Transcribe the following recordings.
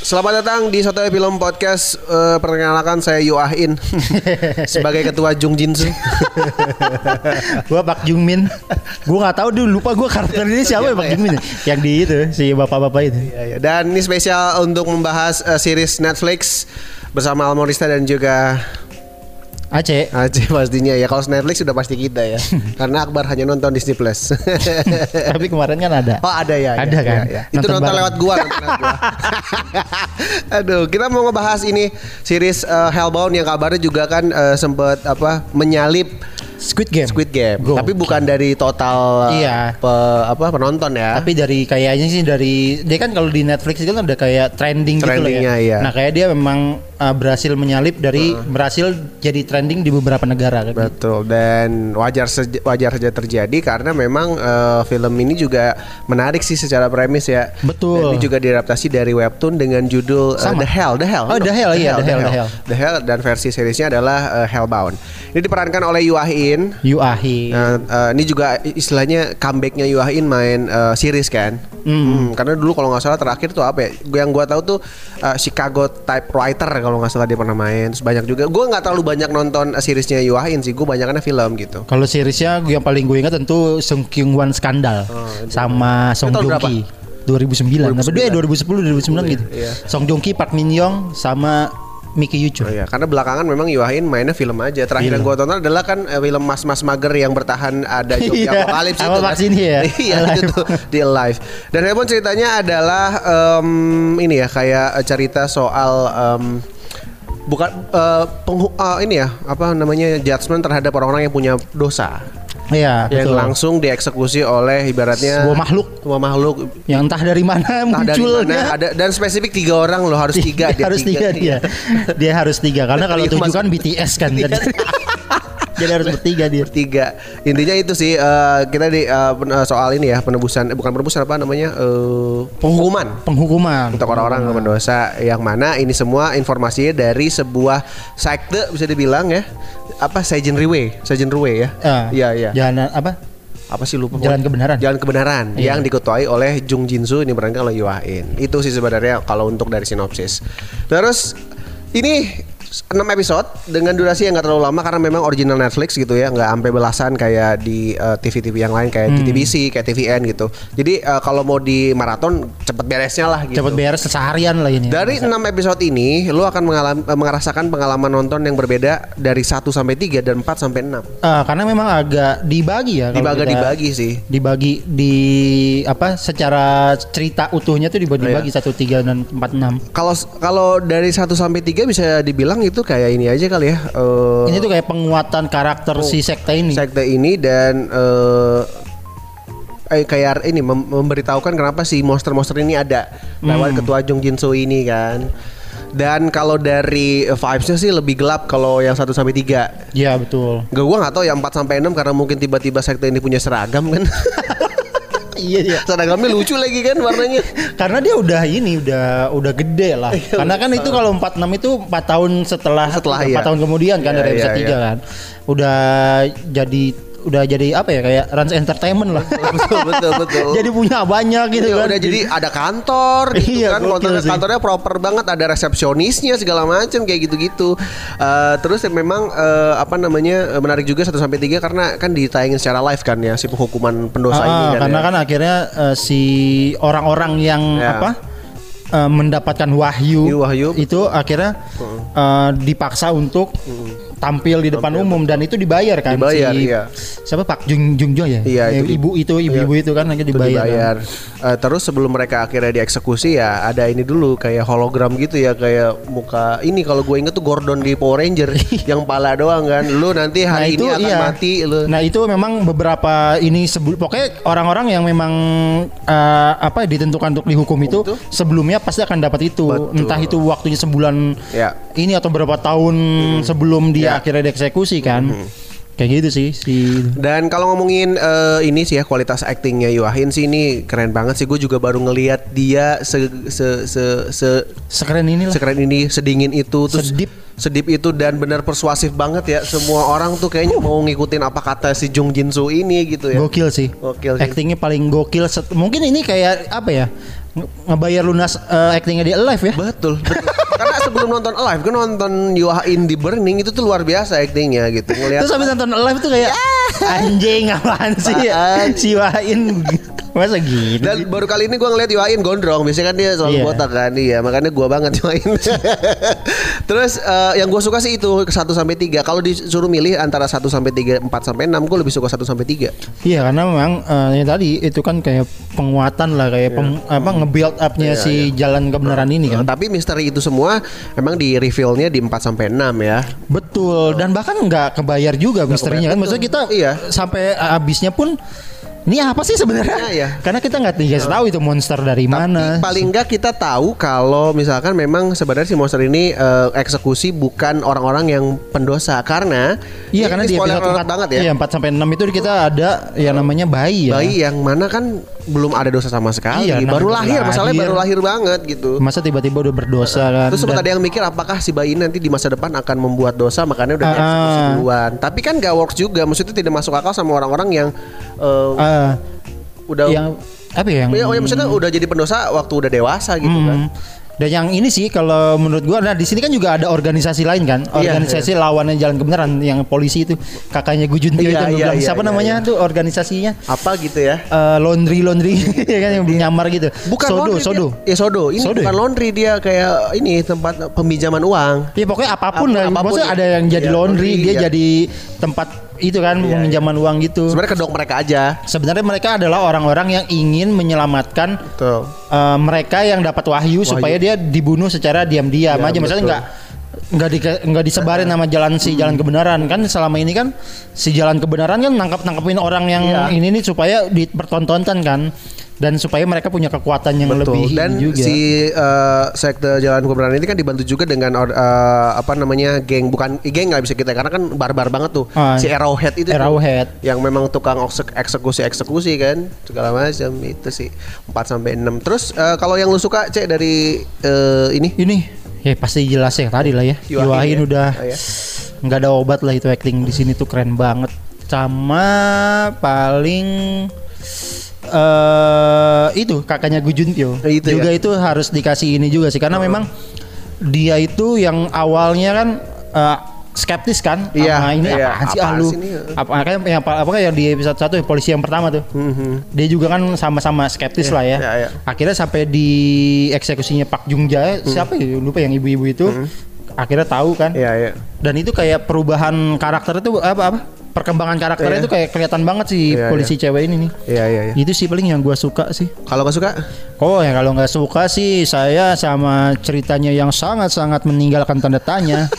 Selamat datang di satu film podcast. Eh, perkenalkan saya Yoahin sebagai ketua Jung Jinsu. gua Pak Jungmin. Gua nggak tahu dulu lupa gua karakternya siapa ya Iya, Pak Jungmin. Yang di itu si bapak-bapak itu. Dan ini spesial untuk membahas eh, series Netflix bersama Almorista dan juga Aceh. Aceh pastinya ya. Kalau Netflix sudah pasti kita ya. Karena Akbar hanya nonton Disney Plus. Tapi kemarin kan ada. Oh ada ya. Ada ya, kan? ya, ya. Nonton Itu nonton bareng. lewat gua. Nonton lewat gua. Aduh, kita mau ngebahas ini series eh, Hellbound yang kabarnya juga kan eh, sempat apa menyalip Squid Game. Squid Game. Go. Tapi bukan dari total eh, Iya. pe- apa penonton ya. Tapi dari kayaknya sih dari dia kan kalau di Netflix itu kan ada kayak trending gitu loh Trendingnya, ya. iya. Nah, kayak dia memang uh, berhasil menyalip dari berhasil jadi trending di beberapa negara kan. Betul dan wajar saja wajar saja terjadi karena memang eh, film ini juga menarik sih secara premis ya. Betul. Dan ini juga diadaptasi dari webtoon dengan judul eh, Sama. The Hell, The Hell. Oh, The Hell, iya, The Hell, The Hell. The Hell dan versi seriesnya adalah eh, Hellbound. Ini diperankan oleh Ah Yuahin. Yuahi. Nah, eh, ini juga istilahnya comebacknya Yuahin main eh, series kan. Hmm, karena dulu kalau nggak salah terakhir tuh apa ya? Gua- Yang gua tahu tuh eh, Chicago Typewriter kalau nggak salah dia pernah main. Terus banyak juga. Gua nggak terlalu banyak nonton eh, seriesnya Yuahin sih. Gua banyakannya film gitu. Kalau seriesnya yang paling gue ingat tentu Sung Kyung Wan Skandal sama Song Ah, tahun Joong berapa? Ki. 2009, apa dia 2010 2009 gitu. iya. Song Joong Ki, Park Min Young sama Mickey Yucho. Oh iya, karena belakangan memang Yuahin mainnya film aja. Terakhir yang gua tonton adalah kan eh, film Mas Mas Mager yang bertahan ada Iya, Jogja Apokalips sama kan. Mas ini ya, iya, itu Alive. tuh di live. Dan Hellbound ceritanya adalah em, ini ya kayak eh, cerita soal em, bukan eh, penghu- eh, ini ya apa namanya judgement terhadap orang-orang yang punya dosa Iya, betul. yang langsung dieksekusi oleh ibaratnya Sebuah makhluk. sebuah makhluk yang entah dari mana entah dari muncul mana ada dan spesifik tiga orang loh harus tiga dia harus tiga, dia. Dia harus tiga karena kalau Iya, tujuh Mas. kan BTS kan. Jadi jadi harus bertiga dia. bertiga intinya itu sih eh, kita di eh, pen- eh, soal ini ya penebusan eh, bukan penebusan apa namanya eh, penghukuman Penghukuman. untuk orang-orang yang berdosa yang mana ini semua informasinya dari sebuah sekte bisa dibilang ya apa Seijin Riwe Seijin Riwe ya Ah, iya iya Jalan apa? apa sih lupa Jalan kebenaran. Jalan kebenaran Iya. yang diketuai oleh Jung Jinsu ini berangkat oleh Yuain itu sih sebenarnya kalau untuk dari sinopsis terus ini 6 episode dengan durasi yang gak terlalu lama karena memang original Netflix gitu ya nggak sampai belasan kayak di eh, TV-TV yang lain Hmm. kayak TVBC, kayak TVN gitu. Jadi eh, kalau mau di maraton cepet beresnya lah gitu. Cepat beres seharian lah ini. Dari enam episode ini, lu akan mengalami, eh, merasakan pengalaman nonton yang berbeda dari 1 sampai 3 dan 4 sampai 6. Ah, karena memang agak dibagi ya. kalau kita- Dibagi-dibagi sih. dibagi di apa secara cerita utuhnya tuh dibagi bagi Iya. satu tiga dan empat enam Kalau kalau dari 1 sampai 3 bisa dibilang itu kayak ini aja kali ya. eh, ini tuh kayak penguatan karakter Oh. si sekte ini sekte ini dan eh, eh, kayak ini mem- memberitahukan kenapa si monster-monster ini ada Hmm. lewat ketua Jung Jin Soo ini kan. Dan kalau dari eh, vibes-nya sih lebih gelap kalau yang 1 sampai 3. ya betul Gak gua nggak tahu ya 4 sampai 6 karena mungkin tiba-tiba sekte ini punya seragam kan. iya iya Seragamnya lucu lagi kan warnanya. karena dia udah ini udah udah gede lah karena kan itu kalau 46 itu 4 tahun setelah Iya, Setelah, empat iya. tahun kemudian kan Iya, dari episode iya, 3 iya. kan udah jadi udah jadi apa ya kayak Rans Entertainment lah Betul, betul, betul. jadi punya banyak gitu Iya, kan udah jadi ada kantor gitu Iya, kan gokil kantornya, sih. kantornya proper banget ada resepsionisnya segala macam kayak gitu-gitu Eh, terus ya memang eh, apa namanya eh, menarik juga 1 sampai 3 karena kan ditayangin secara live kan ya si penghukuman pendosa Ah, ini kan karena ya. kan akhirnya eh, si orang-orang yang Ya. apa eh, mendapatkan wahyu, Iya, wahyu, itu akhirnya eh, dipaksa untuk tampil di depan umum dan itu dibayar kan Hmm. Dibayar, si, iya. siapa Pak Jung Jung Jo ya Iya, Eh, itu di- ibu itu ibu-ibu iya. itu kan hanya Itu dibayar, dibayar. Eh, terus sebelum mereka akhirnya dieksekusi ya ada ini dulu kayak hologram gitu ya kayak muka ini kalau gue inget tuh Gordon di Power Ranger yang pala doang kan. Lu nanti Nah hari itu ini akan iya. mati lu. Nah itu memang beberapa ini sebelum pokoknya orang-orang yang memang eh, apa ditentukan untuk dihukum itu Betul. sebelumnya pasti akan dapat itu. Betul. Entah itu waktunya sebulan Ya. Hmm. ini atau berapa tahun sebelum dia akhirnya dieksekusi kan. Kayak gitu sih si Dan kalau ngomongin eh, ini sih ya kualitas aktingnya Yoahin sih ini keren banget sih. Gue juga baru ngeliat dia se se se, se- sekeren inilah. sekeren ini, sedingin itu, terus Sedip. sedip itu dan benar persuasif banget ya. Semua orang tuh kayaknya mau ngikutin apa kata si Jung Jin Soo ini gitu ya. Gokil sih. Gokil sih. Actingnya paling gokil. set- Mungkin ini kayak apa ya? nge- Ngebayar lunas eh, actingnya dia live ya. Betul, betul. Karena sebelum nonton live, gue nonton Yoahin di Burning itu tuh luar biasa aktingnya gitu. Ngeliat Terus habis nonton live tuh kayak anjing apaan sih Apaan? si Wain masa gitu. Dan baru kali ini gua ngeliat Iwain gondrong Biasanya kan dia selalu Iya. botak kan Iya makanya gua banget Iwain Terus eh, yang gue suka sih itu 1 sampai 3 Kalau disuruh milih antara 1 sampai 3, 4 sampai 6 Gue lebih suka 1 sampai 3 Iya karena memang eh, yang tadi itu kan kayak penguatan lah Iya. kayak pem- apa nge-build up-nya si jalan kebenaran ini kan. Tapi misteri itu semua Emang di reveal-nya di 4 sampai 6 ya Betul dan bahkan nggak kebayar juga misterinya kan. Maksudnya kita Iya. sampai habisnya pun ini apa sih sebenarnya? Iya, iya. Karena kita nggak dikasih tahu itu monster dari mana. Tapi paling enggak kita tahu kalau misalkan memang sebenarnya si monster ini eh, eksekusi bukan orang-orang yang pendosa karena Iya ini karena di spoiler episode alert 4 banget ya. Iya 4 sampai 6 itu kita ada yang namanya bayi ya. Bayi yang mana kan belum ada dosa sama sekali, Iya, baru nah, lahir, baru masalahnya lahir. baru lahir banget gitu. Masa tiba-tiba udah berdosa kan. Terus sempat Dan- ada yang mikir apakah si bayi ini nanti di masa depan akan membuat dosa makanya udah Ah, dieksekusi ah. duluan. Tapi kan gak works juga, maksudnya tidak masuk akal sama orang-orang yang eh, Ah, udah yang apa ya yang ya, oh ya, maksudnya udah jadi pendosa waktu udah dewasa gitu kan. Hmm. Dan yang ini sih kalau menurut gua nah di sini kan juga ada organisasi lain kan. Iya, Organisasi lawannya jalan kebenaran yang polisi itu kakaknya Gujun Tio Iya, itu yang gua iya, bilang iya, siapa iya, namanya tuh organisasinya? Apa gitu ya? Eh, laundry laundry ya kan yang nyamar gitu. Bukan sodo, laundry sodo. Dia. Ya sodo. Ini Sodo bukan ya? laundry dia kayak ini tempat pemijaman uang. Ya pokoknya apapun, Apa- lah. apapun maksudnya ya. ada yang jadi Iya, laundry, laundry, dia iya. jadi tempat itu kan peminjaman uang gitu. Sebenarnya kedok mereka aja. Sebenarnya mereka adalah orang-orang yang ingin menyelamatkan Betul. eh, mereka yang dapat wahyu, supaya dia dibunuh secara diam-diam Ya, aja maksudnya betul. Hmm. nggak nggak di, nggak disebarin nama jalan si jalan kebenaran kan selama ini kan si jalan kebenaran kan nangkap nangkepin orang yang Iya. ini nih supaya dipertontonkan kan dan supaya mereka punya kekuatan yang lebih Betul. ini Dan juga si eh, sekte Jalan Kebenaran ini kan dibantu juga dengan or- eh, apa namanya geng bukan eh, geng nggak bisa kita karena kan barbar banget tuh Ah. si Arrowhead itu tuh. Arrowhead. yang memang tukang oksek- eksekusi-eksekusi kan segala macam itu sih 4 sampai 6. Terus eh, kalau yang lu suka Cek dari eh, ini ini ya pasti jelas ya tadi lah ya Iwahin Iwahin ya. udah Oh, ya. nggak ada obat lah itu acting di sini tuh keren banget sama paling eh itu kakaknya Gu Juntyo Oh, itu juga ya? Oh. itu harus dikasih ini juga sih karena memang dia itu yang awalnya kan eh, skeptis kan Iya, sama ini iya. apaan sih ah Apaan lu sih ini? apa kayak yang apa, apa yang di episode satu yang polisi yang pertama tuh dia juga kan sama-sama skeptis lah ya Mhm. iya, iya. akhirnya sampai di eksekusinya Pak Jungja siapa ya lupa yang ibu-ibu itu akhirnya tahu kan Hmm. Iya, iya. dan itu kayak perubahan karakter itu apa apa perkembangan karakternya Iya. itu kayak kelihatan banget sih Iya, polisi cewek ini nih Iya, iya, iya. itu sih paling yang gua suka sih Kalau nggak suka Oh ya kalau nggak suka sih saya sama ceritanya yang sangat-sangat meninggalkan tanda tanya.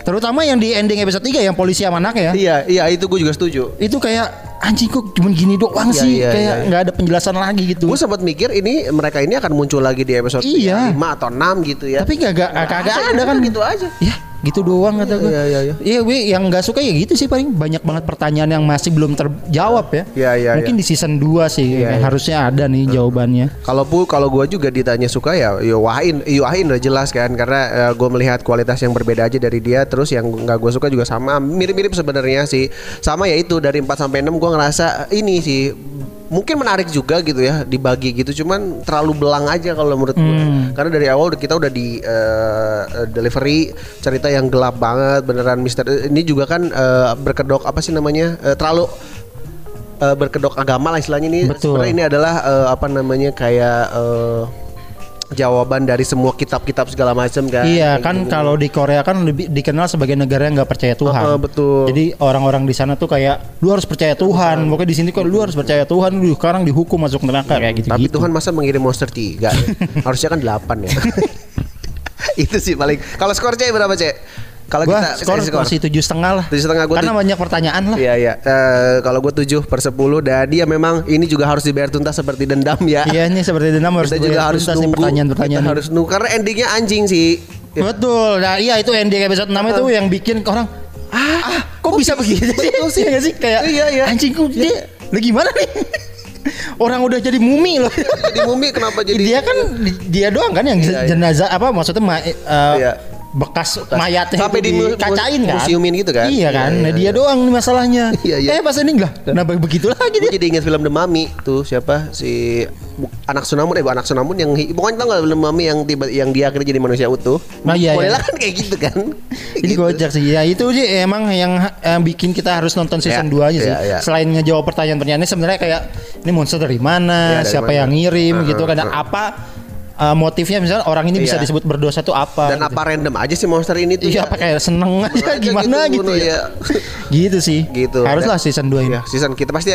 Terutama yang di ending episode 3 yang polisi sama anak ya. Iya, iya itu gue juga setuju. Itu kayak anjing kok cuman gini doang Iya, sih iya, kayak iya. nggak ada penjelasan lagi gitu. Gue sempat mikir ini mereka ini akan muncul lagi di episode Iya. 5 atau 6 gitu ya. Tapi nggak nggak kagak ada kan gitu aja. Ya gitu doang kata gue. iya, iya, iya. gue yang nggak suka ya gitu sih paling banyak banget pertanyaan yang masih belum terjawab ya. Iya, iya, Mungkin iya. di season 2 sih Iya, kayak iya. harusnya ada nih jawabannya. Kalau pu, kalau gue juga ditanya suka ya, Yowahin, Yowahin udah jelas kan, karena gue melihat kualitas yang berbeda aja dari dia. Terus yang nggak gue suka juga sama, mirip-mirip sebenarnya sih, sama ya itu dari 4 sampai 6 gue ngerasa eh, ini sih mungkin menarik juga gitu ya dibagi gitu, cuman terlalu belang aja kalau menurut gue. Karena dari awal udah- kita udah di eh, eh, delivery cerita yang gelap banget, beneran mister ini juga kan eh, berkedok apa sih namanya Eh, terlalu eh, berkedok agama lah istilahnya ini Betul. sebenarnya ini adalah eh, apa namanya kayak eh, jawaban dari semua kitab-kitab segala macam kan. Iya Kayak kan gitu. kalau di Korea kan lebih dikenal sebagai negara yang nggak percaya Tuhan. Heeh, betul. Jadi orang-orang di sana tuh kayak lu harus percaya Tuhan. Pokoknya di sini kok lu harus percaya Tuhan. Lu sekarang dihukum masuk neraka kayak gitu. Tapi Tuhan masa mengirim monster tiga? Harusnya kan delapan ya. Itu sih paling. Kalau skor C berapa C? Kalau Gua kita skor eh, masih tujuh setengah lah. 7,5 gua Karena tuj- banyak pertanyaan lah. Iya iya. Eh, kalau gue 7 per 10 dan dia memang ini juga harus dibayar tuntas seperti dendam ya. Iya ini seperti dendam harus Kita juga dibayar harus tuntas nih nunggu. pertanyaan-pertanyaan. Kita harus nunggu karena endingnya anjing sih. Ya. Betul. Nah, iya itu ending episode 6 itu yang bikin orang ah, kok, bisa begitu sih? Betul sih. Iya nggak sih? Kayak Iya, iya. anjing kok dia lu gimana nih? orang udah jadi mumi loh. Jadi mumi kenapa jadi dia kan di- dia doang kan yang Iya, iya. jenazah apa maksudnya ma- eh, uh, Iya. bekas mayatnya Sampai itu di mu- dikacain kan museumin gitu kan? iya kan Iya, Nah, iya, dia iya. doang nih masalahnya Iya, iya. eh pas ini lah kenapa begitu lagi Gue dia jadi ingat film The Mummy tuh siapa si bu- anak Sunamun eh bu- anak Sunamun yang hi- pokoknya tau gak film The Mummy yang tiba yang dia akhirnya jadi manusia utuh. Nah, iya, iya. Modelnya kan kayak gitu kan. ini Gitu. gojek sih ya itu sih emang yang eh, bikin kita harus nonton season 2 Iya, aja sih iya, iya. selain ngejawab pertanyaan-pertanyaannya sebenarnya kayak ini monster dari mana Iya, dari siapa mana? yang ngirim Heeh, gitu kan Dan heeh. apa eh, motifnya misalnya orang ini bisa Iya. disebut berdosa tuh apa Dan gitu. apa random aja sih monster ini tuh. ya? Iya, apa kayak seneng aja Aja gimana gitu, gitu, bunuh, ya. iya. gitu sih. gitu Haruslah Dan- season 2 ini. Iya, season kita pasti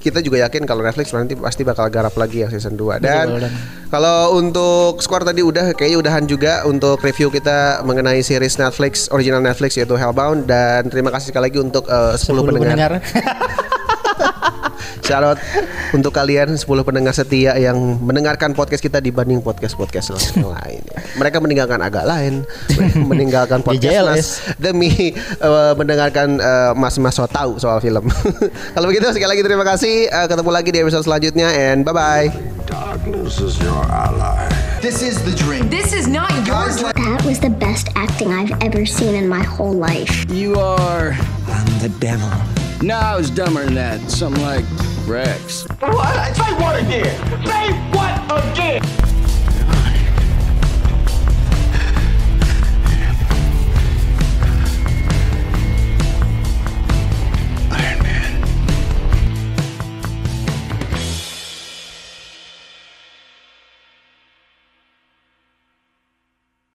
kita juga yakin kalau Netflix nanti pasti bakal garap lagi yang season Betul, 2 dan dan- kalau untuk squad tadi udah kayaknya udahan juga untuk review kita mengenai series Netflix original Netflix yaitu Hellbound dan terima kasih sekali lagi untuk eh, 10, 10 pendengar. pendengar. Shout out untuk kalian 10 pendengar setia yang mendengarkan podcast kita dibanding podcast-podcast yang lain. Mereka meninggalkan agak lain, mereka meninggalkan podcast JLS. Mas demi eh, mendengarkan eh, mas-mas so tahu soal film. Kalau begitu sekali lagi terima kasih. Eh, ketemu lagi di episode selanjutnya and bye-bye. Darkness is your ally. This is the dream. This is not your That was the best acting I've ever seen in my whole life. You are. I'm the devil. No, I was dumber than that. Something like Rex. What? Say what again? Say what again?